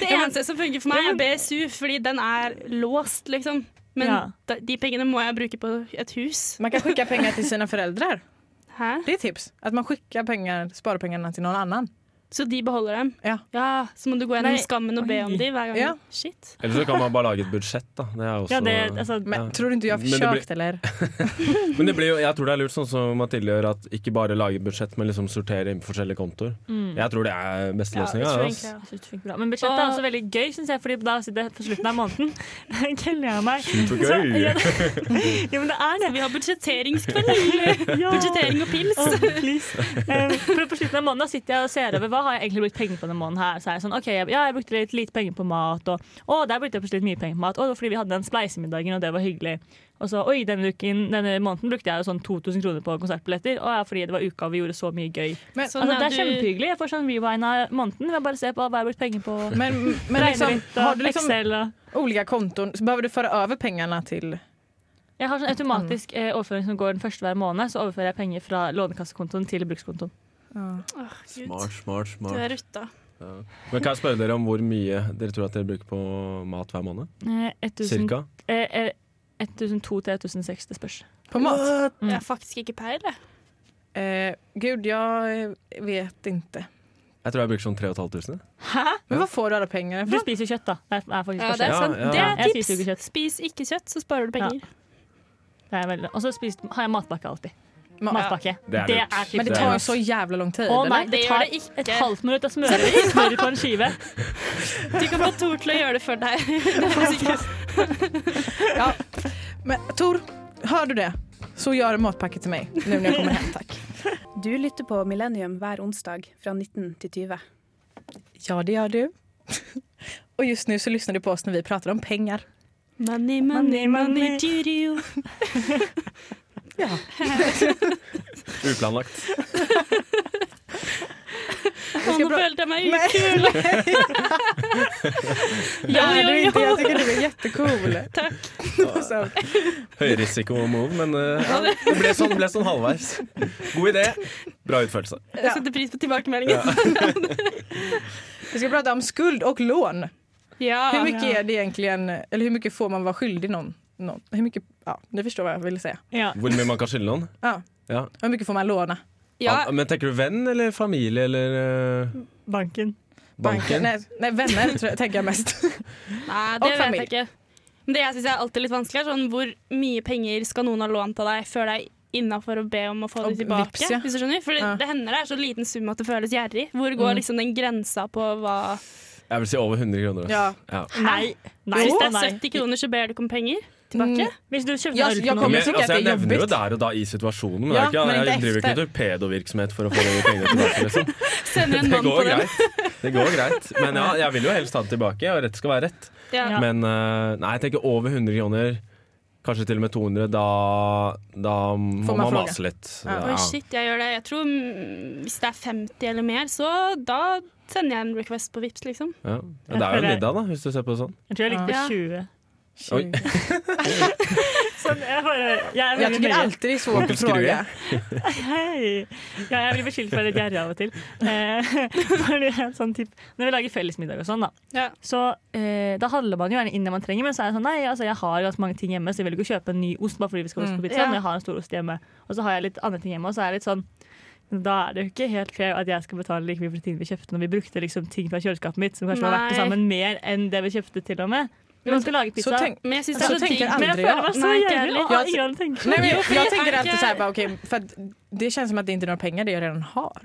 C: Det eneste som funker for meg, er BSU, fordi den er låst, liksom. Men
B: Ja.
C: da- de pengene må jeg bruke på et hus.
A: Man kan skicka pengar till sina föräldrar.
C: Hæ?
A: Det är tips. Att man skickar pengar, sparpengarna till någon annan.
C: Så de beholder dem?
A: Ja.
C: Så må du gå gjennom
B: Nei,
C: skammen og be om
B: oi.
C: de hver gang?
A: Ja.
C: Shit.
D: Eller så kan man bare lage et budsjett, da. Det er også
B: Ja, det, altså,
A: Men
D: Ja.
A: tror du inte jag har
D: Men det
A: försökt eller?
D: Men det blir jo, jeg tror det er lurt, sånn som Mathilde gjør, at ikke bare lage budsjett, men liksom sortere inn på forskjellige kontoer. Jeg tror det er beste
C: Ja, det
D: løsninga. altså.
C: tror jeg egentlig, ja.
B: Jeg synes det funker bra. Men budsjettet er også veldig gøy, syns jeg, Fordi da sitter jeg på slutten av måneden. Gleder jeg meg. Så,
D: Supergøy.
B: ja, det- ja, men det er det.
C: Vi har budsjetteringskveld.
B: Ja.
C: Budsjettering og pils.
B: Åh, please. Eh, for på slutten av måneden da sitter jeg og ser over hva har jeg egentlig brukt penger på denne måneden. her Så er jeg sånn, ok, jeg- ja, jeg brukte litt lite penger på mat, og å, der brukte jeg plutselig litt mye penger på mat. Å, det var fordi vi hadde den spleisemiddagen, og det var hyggelig. Og så, oi, denne, uken, denne måneden brukte jeg jo sånn 2000 kroner på konsertbilletter, og ja, fordi det var uka og vi gjorde så mye gøy.
A: Men,
C: Så
B: Altså, det er
C: når Sånn, du-
B: kjempehyggelig. Jeg får sånn rewind av måneden ved å bare se på hva jeg har brukt penger på.
A: men, men
B: Regner
A: liksom,
B: litt, og
A: har du liksom
B: Excel og
A: olika konton så behöver du föra över pengarna till...
B: Jeg har sånn
A: Mm.
B: automatisk eh, overføring som går den første hver måned. Så overfører jeg penger fra lånekassekontoen til brukskontoen.
C: Åh, Gud.
D: Smart, smart,
C: Du
D: smart.
C: er rutta.
D: Men kan jeg spørre dere om hvor mye dere tror at dere bruker på mat hver måned?
B: Eh, 1000,
D: Cirka?
B: eh, eh, 1002 til 1006, det spørs.
A: På mat?
B: Mm.
C: Jeg har faktisk ikke peil, jeg.
A: Eh, gud, jag eh, vet inte.
D: Jeg tror jeg bruker sånn 3500.
A: Men var får du alla pengarna
B: Du
A: ifrån?
B: spiser jo kjøtt, da. Det er, er faktisk
C: Ja, det
B: forskjell.
C: er
D: Ja,
C: sant.
D: ja.
C: Det
B: Jeg
C: er tips.
B: spiser jo ikke kjøtt.
C: Spis ikke kjøtt, så sparer du penger.
B: Det er veldig- Og så spist- har jeg matpakke alltid.
A: Ma-
B: Matpakke.
D: Det er lurt.
B: tips.
A: Men det tar ju så jävla lång tid.
B: Å
A: eller?
B: nei,
C: Det
B: det
C: gjør
B: tar
C: det ikke.
B: et halvt minutt å smøre smør på en skive.
C: Du kan få Tor til å gjøre det for deg.
A: Ja. Men Tor, hör du det? Så gör matpacket till mig nu när jag kommer hem, tack.
H: Du lytter på Millennium hver onsdag fra 19 til 20.
A: Ja, det gör du. Och just nu så lyssnar du på oss när vi pratar om pengar.
C: Money,
B: money, money,
A: Ja.
D: Uplanlagt.
C: Nå følte jag meg
A: Nej,
C: ukul.
A: det
C: Ja,
A: är
C: jo,
A: du inte.
C: jo.
A: Jag tycker du är jättecool.
C: Tack.
A: Så,
D: Høyrisiko-move, men eh, ja, det ble sånn, ble sånn halvveis. God idé, bra utførelse.
C: Jeg setter pris på tilbakemeldingen.
A: vi ska prata om skuld och lån.
C: Ah, Ja.
A: Hur mycket är det egentligen, eller hur mycket får man vara skyldig någon? någon? Hur mycket, ja, ni förstår vad jag vill säga.
B: Ja.
D: Hvor mye man kan skylde noen.
A: Ja.
D: Ja.
A: Hur mycket får man låna?
C: Ja,
D: Al- Men tenker du venn eller familie eller eh,
A: Banken?
B: Banken.
D: banken?
A: Nej, nej, vänner tror jag, tänker jag mest.
C: Nei,
A: Og
C: det vet
A: familie.
C: jeg ikke. Men det jeg syns er alltid litt vanskelig, er sånn hvor mye penger skal noen ha lånt av deg før det er innafor å be om å få
A: Og
C: det tilbake?
A: vips, ja.
C: Hvis du skjønner? For det,
A: Ja.
C: det hender det er så liten sum at det føles gjerrig. Hvor går liksom den grensa på hva
D: Jeg vil si over 100 kroner. ass.
A: Ja.
D: Ja.
B: Nei. Nei.
C: Hvis det
B: nei.
C: er 70 kroner, så ber du ikke om penger?
A: Mm.
C: tilbake?
B: Hvis du kjøpte
A: Ja,
B: øl
A: jeg
B: på
A: kommer
B: noen
D: Men,
A: sikkert
D: altså, jeg
A: det er
D: nevner jo
A: jobbet.
D: der og da i situasjonen, men, det
A: Ja,
D: er ikke,
A: men
D: jeg,
A: det er
D: driver ikke
A: ekte.
D: torpedovirksomhet for å få de pengene tilbake. Liksom.
C: Sender en
D: Det
C: mann på
D: går
C: den.
D: greit. Det går greit. Men ja, jeg vil jo helst ha det tilbake, og rett skal være rett.
C: Ja.
B: Ja.
D: Men eh, nei, jeg tenker over 100 kroner, kanskje til og med 200, da, da må
A: man
D: man
A: flagge.
D: mase litt.
A: Ja.
C: Oi, shit, jeg gjør det. Jeg tror mm, hvis det er 50 eller mer, så da sender jeg en request på Vipps, liksom.
D: Ja. Ja, Det er jo en middag, da, hvis du ser på det sånn.
B: Jeg tror jeg likte
C: Ja.
B: 20.
D: Oi.
B: Sånn, jeg bare, jeg er
A: Jag
B: veldig
A: tycker
B: nøye.
A: alltid det är svårt
D: Onkel
A: att
D: Skrue.
A: fråga.
B: Hei! Ja, jeg blir beskyldt for litt gjerrig av og til. Eh, fordi jeg er sånn typ, når vi lager fellesmiddag og sånn, da,
C: Ja.
B: så eh, da handler man jo gjerne inn det man trenger, men så er det sånn nei, altså, jeg har ganske mange ting hjemme, så jeg vil ikke kjøpe en ny ost bare fordi vi skal ha ost på pizza,
C: Ja.
B: men jeg har en stor ost hjemme. Og så har jeg litt andre ting hjemme, og så er jeg litt sånn da er det jo ikke helt fair at jeg skal betale like mye for ting vi kjøpte når vi brukte liksom ting fra kjøleskapet mitt som kanskje var verdt det
C: Nei.
B: sammen mer enn det vi kjøpte til og med. Når man skal lage pizza.
A: Så tänk,
C: Men jeg syns det
A: Så
C: er så
A: tenker
C: digg.
A: jeg
B: men
A: aldri,
B: jeg føler
A: ja.
B: meg så
C: Nei, ikke
B: gjerrig.
C: heller.
B: og alle andre tenker
A: nej, men
C: Jo,
A: jag,
C: för
A: jag
C: jag
A: tänker
C: tänker-
A: alltid så här, bara, okej, för att det känns som att det inte är några pengar det jag redan har.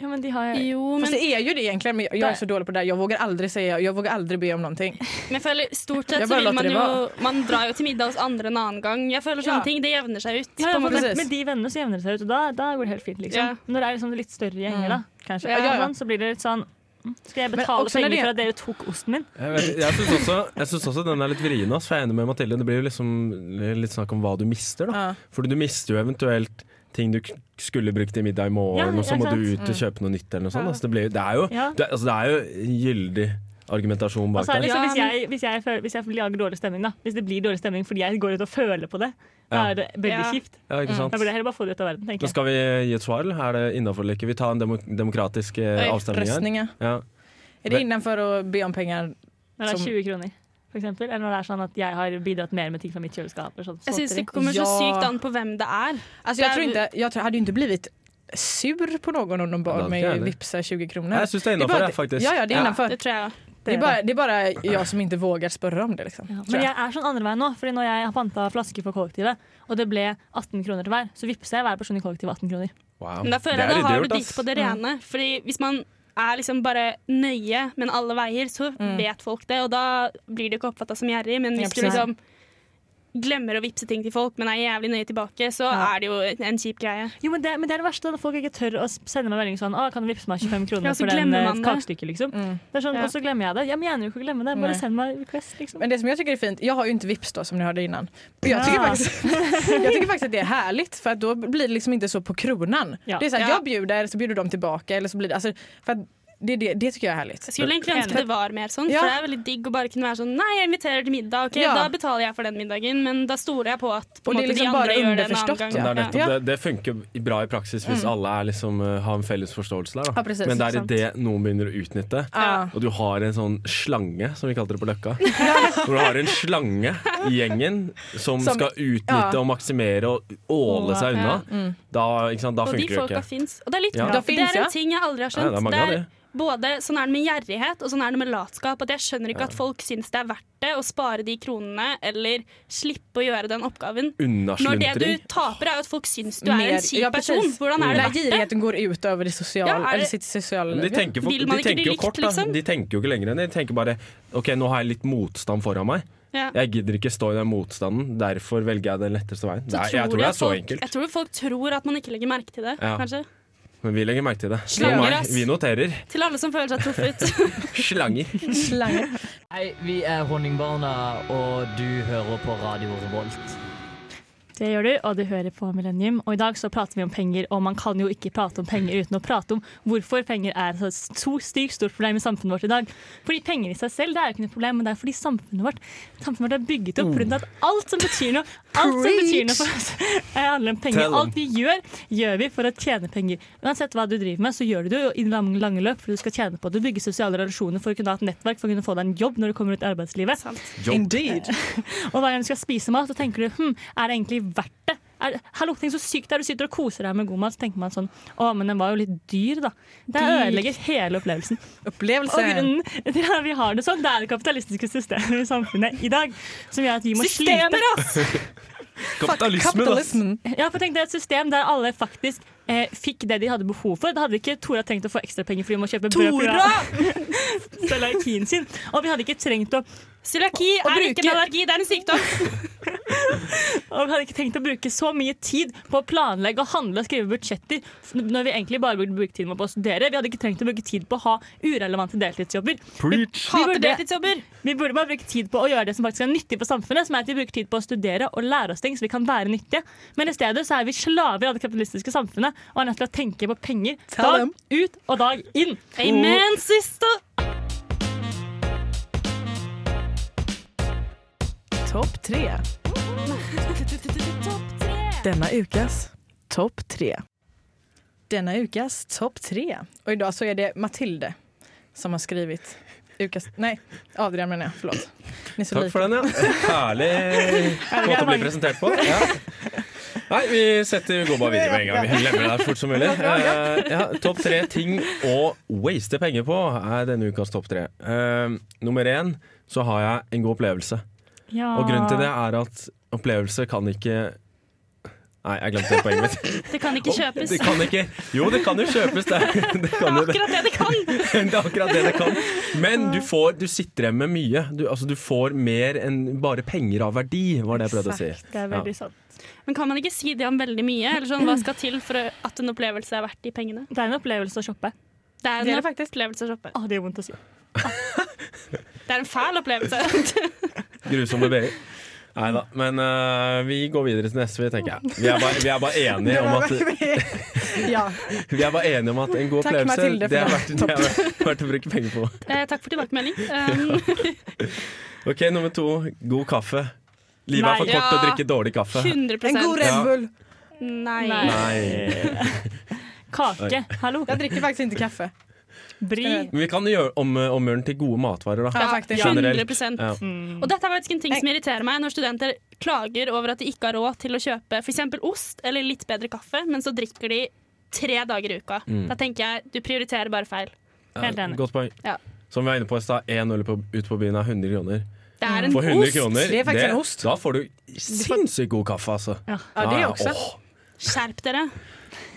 B: Ja, men de har
C: Jo,
A: Fast
C: men,
A: det är ju det egentligen, men jag är så dålig på det där. Jag vågar aldrig säga, jag vågar aldrig be om någonting.
C: men jeg føler stort sett
A: Jeg
C: så
A: bare
C: vil
A: later
C: man
A: det
C: jo Man drar jo til middag hos andre en annen gang. Jeg føler
A: Ja.
C: sånne ting. Det jevner seg ut.
B: Ja,
C: på
B: ja,
C: en
B: for
C: måte.
B: det,
A: precis.
B: med de vennene så jevner det seg ut, og da, da går det helt fint. liksom.
C: Ja.
B: Når det er liksom litt større gjenger, da, kanskje,
A: Mm. Ja, ja, ja.
B: Sånn, så blir det litt sånn mm, Skal jeg
A: Men
B: betale
A: også når
B: penger
A: det-
B: for at dere tok osten min?
D: Jeg, vet- jeg syns også, jeg synes også den er litt vrien, ass, for jeg er enig med Mathilde. Det blir jo liksom litt snakk om hva du mister, da.
A: Ja.
D: Fordi du mister jo eventuelt ting du k- skulle brukt i middag i
B: Ja,
D: morgen, og så
B: ja,
D: må
B: sant.
D: du ut og kjøpe noe nytt eller noe sånt. Altså, det, blir, jo- det, er jo,
B: Ja.
D: det, altså, det er jo gyldig argumentasjon
B: Og
D: bak
B: så er det
D: der.
B: liksom,
C: Ja,
B: hvis, jeg, hvis, jeg føler, hvis jeg lager dårlig stemning, da. Hvis det blir dårlig stemning fordi jeg går ut og føler på det, da
D: Ja.
B: er det veldig
C: Ja.
B: kjipt.
D: Ja, ikke sant?
B: Da burde jeg heller bare få det ut av verden, tenker
D: Men
B: jeg.
D: skal vi gi et svar, eller er det innafor eller ikke? Vi tar en demo demokratisk eh,
C: Oi,
D: avstemning her.
A: Röstningar.
D: Ja.
A: Är det innanför att be om pengar?
B: Når det
A: som-
B: er 20 kroner. For eksempel, eller når det er sånn at jeg har bidratt mer med ting fra mitt kjøleskap. sånn. Eller sånt,
C: Jeg syns
B: småtteri.
C: det kommer så
A: Ja.
C: sykt an på hvem det er.
A: Alltså,
C: Det
A: jag,
C: är
A: tror
C: väl-
A: inte, jag tror, hade ju inte blivit sur på någon om de
D: Ja, det
A: bad
D: hade
A: mig
D: jag heller.
A: vipsa 20 kronor.
D: Nei, Jeg syns det er
A: Det är
D: innafor,
A: bara-
D: faktisk.
A: Ja, ja, det är innanför.
C: Det tror jeg.
A: Det, är bara, det är bara jag som inte vågar spörra om det. Liksom,
B: Ja,
A: tror
B: men
A: jag.
B: jeg er sånn andre veien nå, Fordi når jeg har panta flasker for kollektivet, og det ble 18 kroner til hver, så vippser jeg hver person i kollektivet 18 kroner.
D: Wow.
C: Men da føler
D: Det
C: jeg
D: er
C: da har
D: ryddig
C: du
D: gjort,
C: ditt
D: ass.
C: på det
A: Mm.
C: rene. Fordi hvis man er liksom bare nøye, men alle veier, så vet folk det. Og da blir det ikke oppfatta som gjerrig. Men
A: Mm. Ja,
C: hvis du
A: precis.
C: liksom glemmer å vippse ting til folk, men er jævlig nøye tilbake, så
A: Ja.
C: er det jo en kjip greie.
B: Jo, men det, men det er det verste når folk ikke tør å s- sende meg melding sånn «Å, 'Kan du vippse meg 25 kroner
C: Ja, så
B: for den
C: glemmer
B: eh,
C: man det.
B: kakestykket?' liksom.
A: Mm.
B: Det er sånn,
C: Ja.
B: Og så glemmer jeg det. Jeg mener jo ikke å glemme det, bare
A: Nei.
B: send meg request, liksom.
A: Men det som jag tycker är fint, jag har ju inte Vips då som ni hörde innan. Och Jag tycker,
B: Ja.
A: faktiskt, jag tycker faktiskt att det är härligt för att då blir det liksom inte så på kronan.
B: Ja.
A: Det är så här,
C: Ja.
A: jag bjuder så bjuder de tillbaka eller så blir det, alltså, för att det, det, det tycker jag är härligt.
C: Jeg skulle egentlig ønske det var mer sånn,
A: Ja.
C: for det er veldig digg å bare kunne være sånn Nei, jeg inviterer til middag, OK,
A: Ja.
C: da betaler jeg for den middagen, men da stoler jeg på at på
A: Og
C: en
A: det er
C: måte, de
A: liksom
C: andre
A: bare
C: gjør det en
A: underforstått,
C: annen gang.
D: Men det, er
A: Ja.
D: nettopp, det, det funker bra i praksis hvis
C: Mm.
D: alle er liksom, eh, har en felles forståelse der.
A: Ja,
D: Da.
A: precis.
D: Men det er
B: Sant.
D: idet noen begynner å utnytte,
A: Ja.
D: og du har en sånn slange, som vi kalte det på Løkka. Hvor du har en slange i gjengen som,
A: Som-
D: skal utnytte
A: ja.
D: og maksimere og åle seg unna. Da, ikke sant? da
C: Mm. Og de
D: funker det
C: folka
D: ikke.
C: fins. Og det er litt
D: Ja.
C: bra.
A: Da
C: for det
A: finnes,
C: er
A: ja.
C: en ting jeg aldri
D: Nei,
C: har skjønt.
D: det er mange
C: det
D: av
C: er
D: de.
C: både sånn er det med gjerrighet, og sånn er det med latskap. At jeg skjønner ikke at folk syns det er verdt det å spare de kronene, eller slippe å gjøre den oppgaven. Når det du
D: Unnasluntreri.
C: taper, er jo at folk syns du
A: Mer-
C: er en kjip
A: ja, precis.
C: person. Hvordan er det
A: När
C: verdt det?
A: girigheten går ut över det sociala,
C: Ja, är det-
A: eller sitt sociala
D: Men De
A: liv.
D: tenker, for,
C: Vil man
D: de
C: ikke
D: tenker
C: bli
D: jo
C: likt,
D: kort, da.
C: liksom?
D: De tenker jo ikke lenger enn det. De tenker bare OK, nå har jeg litt motstand foran meg.
C: Ja.
D: Jeg gidder ikke stå i den motstanden, derfor velger jeg den letteste veien.
C: Så
D: Det er, jeg tror det
C: jeg
D: er så
C: folk-
D: enkelt.
C: Jeg tror folk tror at man ikke legger merke til det,
D: Ja.
C: kanskje.
D: Men vi legger merke til det.
C: Slanger,
D: Nå meg,
C: ass.
D: Vi noterer.
C: Til alle som føler seg truffet.
D: Slanger.
A: Slanger.
I: Hei, vi er Honningbarna, og du hører på Radio Revolt.
B: Det gjør du, og du hører på Millennium. Og i dag så prater vi om penger, og man kan jo ikke prate om penger uten å prate om hvorfor penger er et så sykt stort problem i samfunnet vårt i dag. Fordi penger i seg selv det er jo ikke noe problem, men det er fordi samfunnet vårt, samfunnet vårt er bygget opp rundt at alt som betyr noe, alt som betyr noe for oss, eh, handler om penger.
D: Tell 'em.
B: Alt vi gjør, gjør vi for å tjene penger. Uansett hva du driver med, så gjør du det jo i det lang- lange løp fordi du skal tjene på det. Du bygger sosiale relasjoner for å kunne ha et nettverk, for å kunne få deg en jobb når du kommer ut i arbeidslivet.
A: Indeed.
B: Og hver gang du skal spise mat, så tenker du hm, er det egentlig verdt det? Er, hallo, tenk så sykt det er. Du sitter og koser deg med god mat, så tenker man sånn å, men den var jo litt dyr, da. Det ødelegger hele opplevelsen. Og
A: Upplevelsen.
B: grunnen til at vi har det sånn, det er det kapitalistiske systemet i samfunnet i dag som gjør at vi må slite.
C: ass!
D: Kapitalisme, da.
A: Kapitalismen.
B: Ja, for tenk deg et system der alle faktisk eh, fikk det de hadde behov for. Da hadde ikke Tora trengt å få ekstrapenger fordi hun må kjøpe brød.
C: Tora!
B: fra- fra Laikin sin. Og vi hadde ikke trengt å
C: Cøliaki
A: Og
C: er ikke en
A: bruker-
C: allergi, det er en sykdom.
B: Og vi hadde ikke tenkt å bruke så mye tid på å planlegge og handle og skrive budsjetter f- når vi egentlig bare burde bruke tiden vår på å studere. Vi hadde ikke trengt å bruke tid på å ha urelevante deltidsjobber.
D: Preach!
B: burde-
C: Hater deltidsjobber.
B: Vi burde bare bruke tid på å gjøre det som faktisk er nyttig for samfunnet, som er at vi bruker tid på å studere og lære oss ting så vi kan være nyttige. Men i stedet så er vi slaver av det kapitalistiske samfunnet og er nødt til å tenke på penger
A: Tell
B: dag
A: them.
B: ut og dag inn.
C: Amen, sister.
A: Topp tre. Denne ukas topp tre. Denne ukas topp tre. Og i dag så er det Mathilde som har skrivit ukas Nei, Adrian mener jeg. Forlåt. Ni er så
D: Takk
A: lika.
D: for den, ja. Herlig måte å bli presentert på. Ja. Nei, vi setter, går bare videre med en gang. Vi glemmer det her så fort som mulig. Eh, ja, topp tre ting å waste penger på er denne ukas topp tre. Eh, nummer én så har jeg en god opplevelse. Og grunnen til det
C: Ah.
D: er at opplevelse kan ikke Nei, jeg glemte det poenget mitt.
C: Det kan ikke kjøpes.
D: Det kan ikke Jo, det kan jo kjøpes. Det, er- det kan jo det.
C: Akkurat det det kan.
D: Det er akkurat det det kan. Men du, får, du sitter igjen med mye. Du, altså, du får mer enn bare penger av verdi, var det jeg prøvde å si.
B: Det er
D: veldig
B: veldig sant.
C: Men kan man ikke si det om veldig mye? Eller sånn, Hva skal til for at en opplevelse er verdt de pengene?
B: Det er en opplevelse å shoppe.
C: Det er en
A: Det er det
C: opplevelse å shoppe.
B: Å, det gjør vondt å si.
C: Det er en fæl opplevelse.
D: Grusomme BI. Nei da. Men øh, vi går videre til neste, tenker jeg. Vi er bare, vi er bare enige om at
A: ja.
D: Vi er bare enige om at en god
A: Takk,
D: opplevelse,
A: Mathilde, for
D: det er
A: det.
D: verdt, det er verdt- verdt å bruke penger på.
C: Eh, takk for tilbakemelding. Um,
D: OK, nummer to. God kaffe. Livet er for
C: Nei.
D: kort til å
C: Ja.
D: drikke dårlig kaffe.
C: 100
A: En god
D: Ja.
A: Red Bull.
C: Nei.
B: Nei.
D: Nei.
B: Kake. Hallo.
A: Jeg drikker faktisk ikke kaffe.
B: Bri.
D: Men vi kan gjøre om- omgjøre den til gode matvarer, da.
A: Ja, faktisk.
C: Ja,
D: Generelt.
C: 100
D: Ja.
C: Og dette er faktisk en ting som irriterer meg når studenter klager over at de ikke har råd til å kjøpe f.eks. ost eller litt bedre kaffe, men så drikker de tre dager i uka. Da tenker jeg du prioriterer bare feil.
B: Helt enig.
D: Godt poeng.
C: Ja.
D: Som vi var inne på i stad, én øl på- ute på byen er 100 kroner.
C: Det er en
D: For 100
C: ost.
D: kroner,
A: Det er faktisk en ost.
D: Da får du sinnssykt god kaffe, altså.
B: Ja.
A: Ja, det også.
D: åh.
C: Skjerp dere.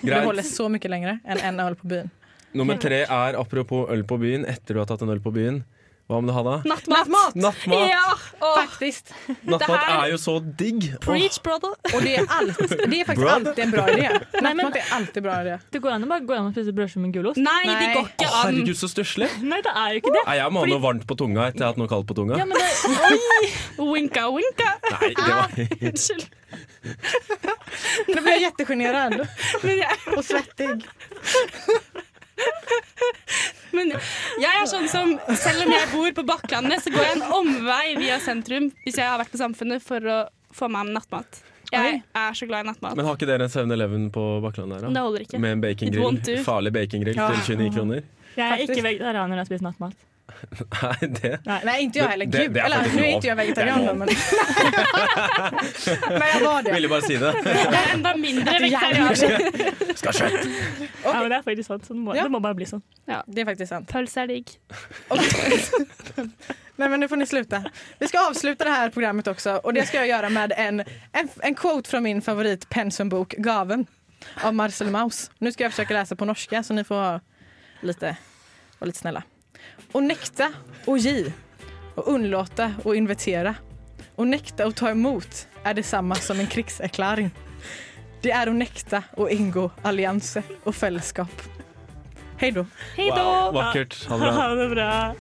A: Det
D: Greit.
A: holder så mye lenger enn en øl på byen.
D: Nummer tre er apropos øl på byen. Etter du har tatt en øl på byen, hva om du har da?
C: Nattmat.
D: Nattmat!
C: Ja! Åh,
A: Faktisk.
D: Nattmat
C: det her-
D: er jo så digg! Åh.
C: preach, brother.
A: Og det er, alt, det er faktisk
D: Bra.
A: alltid en bra idé.
B: men-
A: Nattmat er alltid bra idé.
B: Det går an å bare gå an og spise brødskive med gulost.
C: Nei, det
A: Nei.
C: går ikke
D: Åh,
C: an.
D: herregud, så stusslig!
B: Nei, det er jo ikke det.
D: Nei, Jeg må ha noe varmt på tunga etter jeg har hatt noe kaldt på tunga.
B: Ja, men det
C: Winka, winka.
D: Nei, det var
C: Unnskyld.
A: Nå blir jeg jättesjenerad
C: Men jeg,
A: og svettig.
C: men jeg er sånn som Selv om jeg bor på Bakklandet, så går jeg en omvei via sentrum hvis jeg har vært på Samfunnet for å få meg nattmat. Jeg er så glad i nattmat.
D: Men har ikke dere en 7-Eleven på Bakklandet her,
C: Det
D: da?
C: holder ikke.
D: Med en
C: It won't do.
D: bacongrill. Farlig bacongrill
A: Ja.
D: til 29 kroner.
B: Jeg er ikke
A: Faktisk.
B: vegetarianer når jeg spiser nattmat.
D: Nei, det
A: Nej, inte jag heller.
D: Det-
A: Gud.
D: det är
A: Eller
D: faktiskt
A: nu är
D: lov.
A: inte jag vegetarian
D: Det
A: då,
D: är
A: men... men jag var det.
D: Ville bare si det.
C: Jeg er enda mindre vegetarianer.
D: Skal kjøtt!
B: Ja, men det er faktisk sant. Sånn må,
A: Ja.
B: Det må bare bli sånn.
A: Det är faktiskt sant.
C: Pølse er digg.
A: Nej men nu får ni sluta. Vi ska avsluta det här programmet också och det ska jag göra med en, en, en quote från min favorit pensumbok Gaven av Marcel Mauss. Nu ska jag försöka läsa på norska så ni får ha lite, vara lite snälla. Och nekta och ge och undlåta och invitera. Och nekta och ta emot är detsamma som en krigserklaring. Det är att nekta och ingå allianser och fällskap. Hej då!
C: Hei da.
D: Wow, vakkert. Ha det bra.
B: Ha det bra.